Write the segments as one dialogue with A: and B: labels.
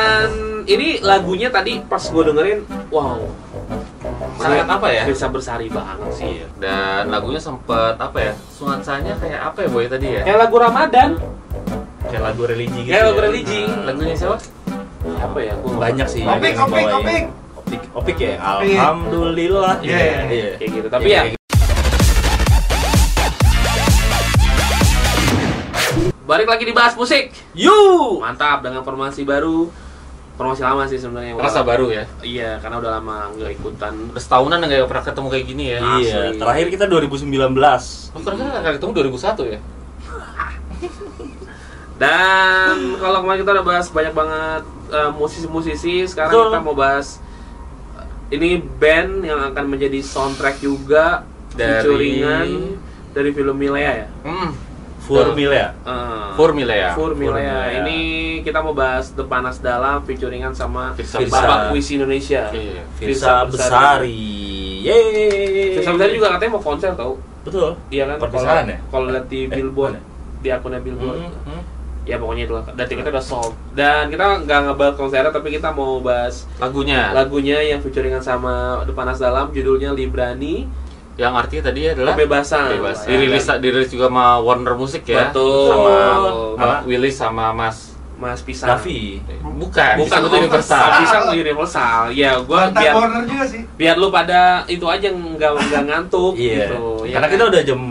A: Dan ini lagunya tadi pas gue dengerin, wow,
B: Sangat apa ya?
A: Bisa bersari banget sih.
B: Iya. Dan lagunya sempet apa ya? Nuansanya kayak apa ya boy tadi ya?
A: Kayak lagu Ramadan,
B: Kayak lagu religi gitu.
A: Kayak
B: ya.
A: lagu religi.
C: Nah,
B: Lagunya siapa?
A: apa ya? Gua
B: Banyak sih.
D: Opik,
B: yang
D: opik,
B: dibawain.
D: opik.
B: Opik, opik ya.
D: Opik.
B: Alhamdulillah.
D: Iya,
B: Iya.
A: Kayak gitu. Tapi
B: Iya,
A: ya,
B: kayak
A: balik lagi di bahas musik. Yuh, mantap dengan formasi baru. Formasi lama sih sebenarnya.
B: Rasa baru ya.
A: Iya, karena udah lama nggak ikutan.
B: Udah setahunan nggak pernah ketemu kayak gini ya.
A: Asli.
C: Iya, terakhir kita 2019.
B: Lu pernah nggak ketemu 2001 ya?
A: Dan kalau kemarin kita udah bahas banyak banget eh, musisi-musisi, sekarang
C: Betul.
A: kita mau bahas eh, ini band yang akan menjadi soundtrack juga
B: Dari-
A: featuringan dari film Milea ya.
B: Hmm.
C: Formil ya.
A: Eh,
B: Formula ya.
A: Formilea.
C: Formilea.
A: Ini kita mau bahas The Panas Dalam featuringan sama
B: Firsa
A: Bapak
C: Firsa.
A: Puisi Indonesia.
B: Iya.
C: Firsa Besari. Yeay.
A: Firsa Besari juga katanya mau konser tau.
C: Betul.
A: Iya kan?
C: Perpisahan
A: Kalau-
C: ya?
A: Kalau lihat di
C: Eh,
A: Billboard,
C: mana?
A: di akunnya Billboard.
B: Hmm, hmm.
A: Ya pokoknya itu lah. Dan tiketnya udah sold. Dan kita nggak ngebahas konsernya tapi kita mau bahas
B: Lagunya
A: lagunya yang featuringan sama The Panas Dalam judulnya Librani
B: yang artinya tadi adalah
A: Kebebasan. Iya.
B: Bebas. Dirilis dirilis juga sama Warner Music ya.
A: Betul.
B: Sama
C: Sama-
B: Willy sama Mas
A: Mas Pisang.
C: Raffi.
B: Bukan,
A: Bukan
B: Pisang itu
A: itu
B: universal.
A: Mas Pisang itu universal. Ya, gua
D: Kontak
A: biar
D: corner juga sih.
A: biar lu pada itu aja nggak nggak ngantuk
C: Iya.
A: gitu. ya
C: Karena
A: kan?
C: kita udah jam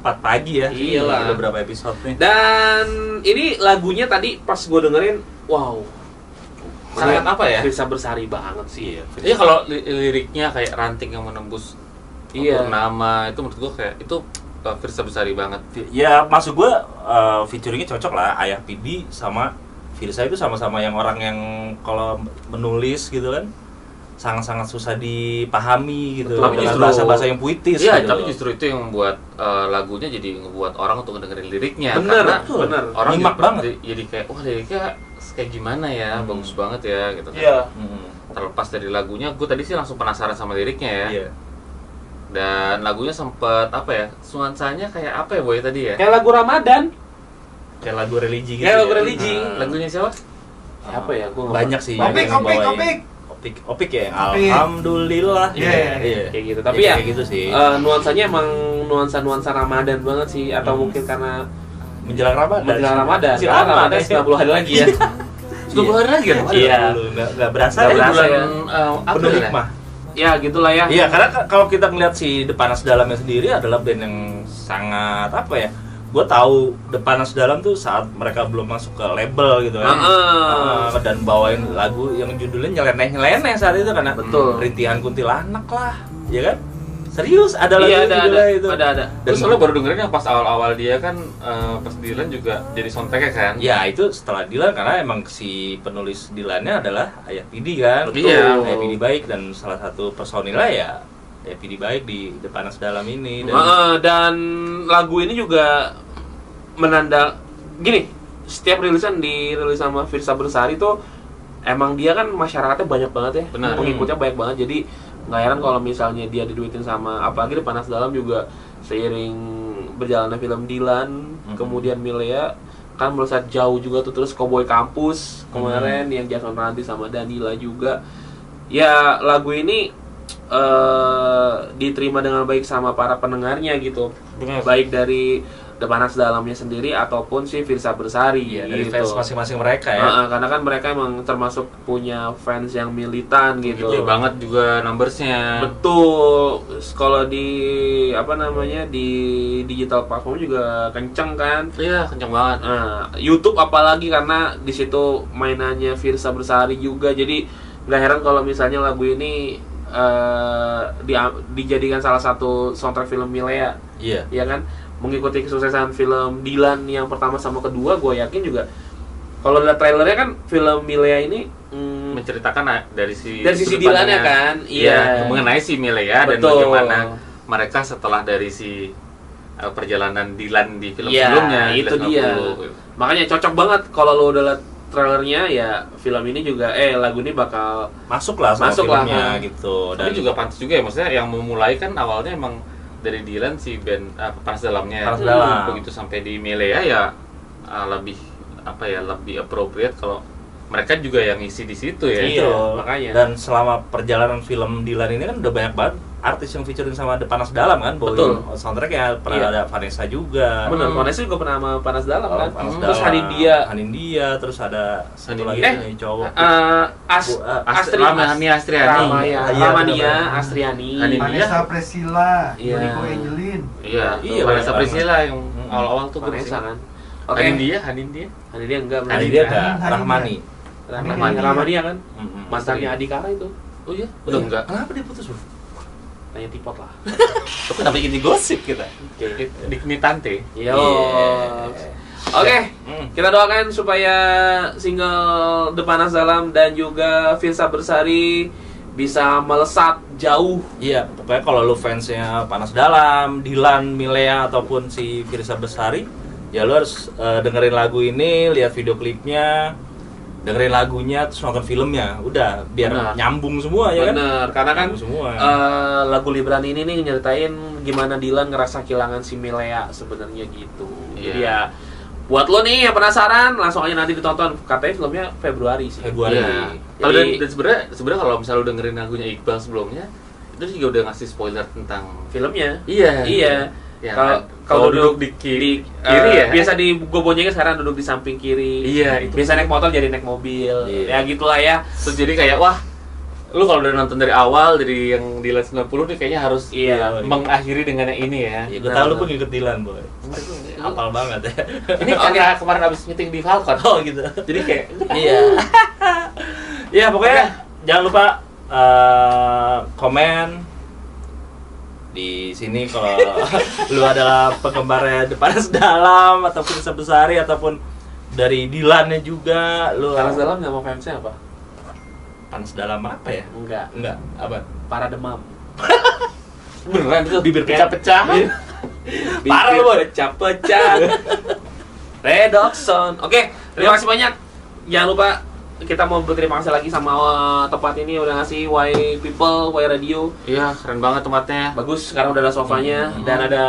C: 4 pagi ya.
A: Iyalah.
C: Udah berapa episode nih?
A: Dan ini lagunya tadi pas gue dengerin, wow.
B: Sangat apa ya?
A: Bisa bersari banget sih.
C: Iya.
B: Iya kalau li- liriknya kayak ranting yang menembus
A: Iya.
B: purnama itu menurut gua kayak itu uh, Firsa Besari banget.
C: Ya maksud gua eh, featuringnya cocok lah Ayah Pidi sama Firsa itu sama-sama yang orang yang kalau menulis gitu kan sangat-sangat susah dipahami gitu
A: Betul.
B: Tapi
C: dengan
B: justru-
C: bahasa-bahasa yang puitis
B: Iya,
C: gitu
B: tapi
C: loh.
B: justru itu yang membuat uh, lagunya jadi ngebuat orang untuk dengerin liriknya
A: Bener,
B: karena
C: betul.
A: bener.
B: orang
C: Nyimak
B: jadi,
C: banget.
B: jadi- jadi kayak wah liriknya kayak gimana ya,
C: Hmm.
B: bagus banget ya gitu. kan.
D: Iya.
A: Iya.
C: Hmm.
B: Terlepas dari lagunya, gue tadi sih langsung penasaran sama liriknya ya.
C: Iya.
B: Dan lagunya sempet apa ya? Nuansanya kayak apa ya boy tadi ya?
A: Kayak lagu Ramadan,
C: Kayak lagu religi gitu.
A: kayak
C: ya.
A: lagu religi.
C: Hmm.
B: Eh, Lagunya siapa?
A: Apa ya? Gua nggak-
C: banyak sih.
D: Opik,
C: yang
D: opik,
C: bawain.
D: opik.
C: Opik, opik ya.
D: Opik.
C: Alhamdulillah.
D: Iya, iya, iya.
A: Kayak gitu. Tapi ya,
C: kayak gitu sih.
A: eh, nuansanya emang nuansa-nuansa Ramadan banget sih atau mungkin karena
C: menjelang Hmm. Ramadan.
A: menjelang Ramadan.
C: Masih
A: Karena
C: lama,
A: Ramadan
C: ya.
A: 90 hari lagi ya.
B: Sudah
C: Iya.
B: hari lagi ya? Ramadan?
C: Iya.
A: Iya.
C: Nggak nggak berasa.
B: Tapi
A: Nggak
C: ya.
A: berasa
B: bulan
A: ya.
B: eh, April
C: Penuh
B: ya?
C: hikmah.
A: ya, gitulah ya.
C: Iya, karena k- kalau kita ngeliat si The Panas Dalamnya sendiri adalah band yang sangat apa ya? Gue tahu The Panas Dalam tuh saat mereka belum masuk ke label gitu kan.
A: Heeh.
C: Ah, dan bawain lagu yang judulnya nyeleneh-nyeleneh saat itu karena
A: Betul.
C: rintihan kuntilanak lah, ya kan? Serius ada lagu
A: Iya,
C: yang
A: ada ada.
C: judulnya itu.
A: Ada ada.
C: Dan-
B: Terus lo baru dengerin yang pas awal-awal dia kan eh, pas Dylan juga jadi soundtracknya kan?
C: Ya itu setelah Dilan karena emang si penulis Dilannya adalah Ayah Pidi kan.
B: Betul. Iya.
C: Ayah Pidi baik dan salah satu personilnya ya Ayah Pidi baik di The Panas Dalam ini dan
A: Heeh, Eh, dan lagu ini juga menanda gini setiap rilisan dirilis sama Firsa Bersari tuh emang dia kan masyarakatnya banyak banget ya
B: Benar.
A: pengikutnya banyak banget jadi nggak heran kalau misalnya dia diduitin sama apalagi di panas dalam juga seiring berjalannya film Dilan
C: Mhm.
A: kemudian Milea kan melesat jauh juga tuh terus Cowboy Kampus kemarin yang Jason Ranti sama Danila juga ya lagu ini eh diterima dengan baik sama para pendengarnya gitu
B: Benar.
A: baik dari The Panas dalamnya sendiri ataupun si Firsa Bersari
C: Iya, dari
A: gitu.
C: fans masing-masing mereka ya.
A: Heeh, karena kan mereka emang termasuk punya fans yang militan gitu
B: Gede
C: Iya,
B: banget juga numbersnya.
A: betul kalau di apa namanya di digital platform juga kenceng kan
B: Iya, kenceng banget.
A: Nah, YouTube apalagi karena di situ mainannya Firsa Bersari juga. Jadi nggak heran kalau misalnya lagu ini eh, dia- dijadikan salah satu soundtrack film Milea,
C: Iya.
A: ya kan? Mengikuti kesuksesan film Dilan yang pertama sama kedua, gue yakin juga. Kalau lihat trailernya kan film Milea ini mm,
B: Menceritakan ah, dari si
A: Dari sisi
B: sudut pandangnya.
A: Dylannya kan?
B: Iya,
A: Iya.
B: mengenai si Milea dan
A: Betul.
B: bagaimana mereka setelah dari si eh, perjalanan Dylan di film gitu.
A: Iya,
B: sebelumnya
A: itu
B: 1990.
A: dia. makanya cocok banget kalau lo udah lihat trailernya ya film ini juga eh lagu ini bakal
C: Masuklah sama
A: Masuk lah,
C: filmnya
A: ha.
C: gitu dan
B: Tapi juga pantas juga ya, maksudnya yang memulai kan awalnya emang dari Dylan si band eh, panas dalamnya. Hmm,
C: Panas Dalam.
B: Begitu sampai di Milea ya eh, lebih apa ya lebih ya, appropriate kalau mereka juga yang ngisi di situ ya.
A: Iya,
C: Betul.
A: makanya.
C: Dan selama perjalanan film Dylan ini kan udah banyak banget artis yang featuring sama The Panas Dalam kan, bawain
A: Betul.
C: soundtracknya
A: Iya.
C: pernah ada Vanessa juga.
A: Bener,
B: Hmm.
A: Vanessa juga pernah sama Panas Dalam
C: Oh,
A: kan?
C: Panas
A: Terus
C: Dalam,
A: Hanindia.
C: Hanindia, terus ada satu lagi
A: Hanindia.
C: nih, cowok.
A: Eh, As
C: Bu, eh,
B: Ast-
A: Astri
B: Ramani Astriani.
A: Ramaya,
C: Iya,
A: Ramania,
C: bener-bener.
A: ya, Astriani.
B: Hanindia.
D: Vanessa Priscilla,
A: Iya.
D: Yuriko Angelin.
B: Iya,
C: Iya,
B: iya Vanessa
C: banyak
B: Priscilla yang
C: Hmm.
B: awal-awal tuh gue
A: Vanessa
B: kesini.
A: kan. Oke.
B: Hanin dia, Hanin dia.
A: Hanindia enggak bener.
C: Hanindia ada
D: Hanindia.
C: Rahmani.
A: Ramania.
B: Ramania.
A: Ramania kan?
C: Mm-mm.
A: Mantannya Adikara itu.
B: Oh iya,
C: Iya,
B: udah enggak.
C: Kenapa dia putus, Bro?
A: Tanya tipot lah.
C: Kenapa ini gosip kita?
A: Oke.
B: Dignitante.
A: Yo.
C: Yes.
A: Iya. Oke.
C: Hmm.
A: Kita doakan supaya single The Panas Dalam dan juga Filsa Bersari bisa melesat jauh.
C: Iya, pokoknya kalau lu fansnya Panas Dalam, Dilan, Milea ataupun si Firsa Besari, ya lu harus eh, dengerin lagu ini, lihat video klipnya, dengerin lagunya, terus nonton filmnya. Udah, biar
A: Benar.
C: nyambung semua
B: Iya
C: ya kan?
A: Bener, karena kan
C: Nyambung semua.
A: eh, lagu Libran ini nih nyeritain gimana Dilan ngerasa kehilangan si Milea sebenarnya gitu.
B: Iya.
A: Jadi ya buat lo nih yang penasaran langsung aja nanti ditonton. Katanya filmnya Februari sih.
C: Februari.
B: Iya. Kalau dan,
A: Jadi-
B: dan sebenarnya sebenarnya kalau misalnya lu dengerin lagunya Iqbal sebelumnya, itu juga udah ngasih spoiler tentang
A: Filmnya.
B: Iya.
A: Iya.
B: Ya,
A: Kalau
B: kan?
A: kalau
B: Kalau
A: duduk,
B: duduk di ki-
A: di-
B: kiri
A: eh,
B: ya?
A: Biasa di gue boncengin sekarang duduk di samping kiri.
B: Iya, itu.
A: Biasa naik motor jadi naik mobil. Ya
C: Iya.
A: gitulah ya.
B: Terus jadi kayak wah, lu kalau udah nonton dari awal dari yang di Lens 90 nih kayaknya harus
A: Iya.
B: mengakhiri dengan yang ini ya.
C: Ya, gue tau lu
A: benar.
C: pengikut Dilan, Boy. Apal banget ya.
B: Ini karena kemarin abis meeting di Falcon.
C: Oh gitu.
B: Jadi kayak
C: Iya. Iya, pokoknya jangan lupa eh, komen di sini kalau lu adalah penggemarnya depan dalam ataupun Besari ataupun dari Dilannya juga lu
A: Panas dalam nama fansnya apa?
C: Panas dalam apa ya?
A: Enggak.
C: Enggak, apa?
A: Para demam.
B: beneran itu
C: Bibir
B: pecah-pecah.
C: Parah lu, Boy.
A: Pecah-pecah. Redoxon. Oke, terima kasih banyak. Jangan lupa kita mau berterima kasih lagi sama uh, tempat ini udah ngasih Why People, Why Radio.
B: Iya, keren banget tempatnya.
A: Bagus, sekarang udah ada sofanya dan ada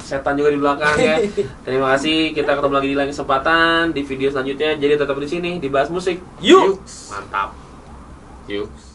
A: setan juga di belakang ya. Terima kasih, kita ketemu lagi di lain kesempatan di video selanjutnya. Jadi tetap di sini di bahas musik.
C: Yuk.
A: Mantap.
B: Yuk.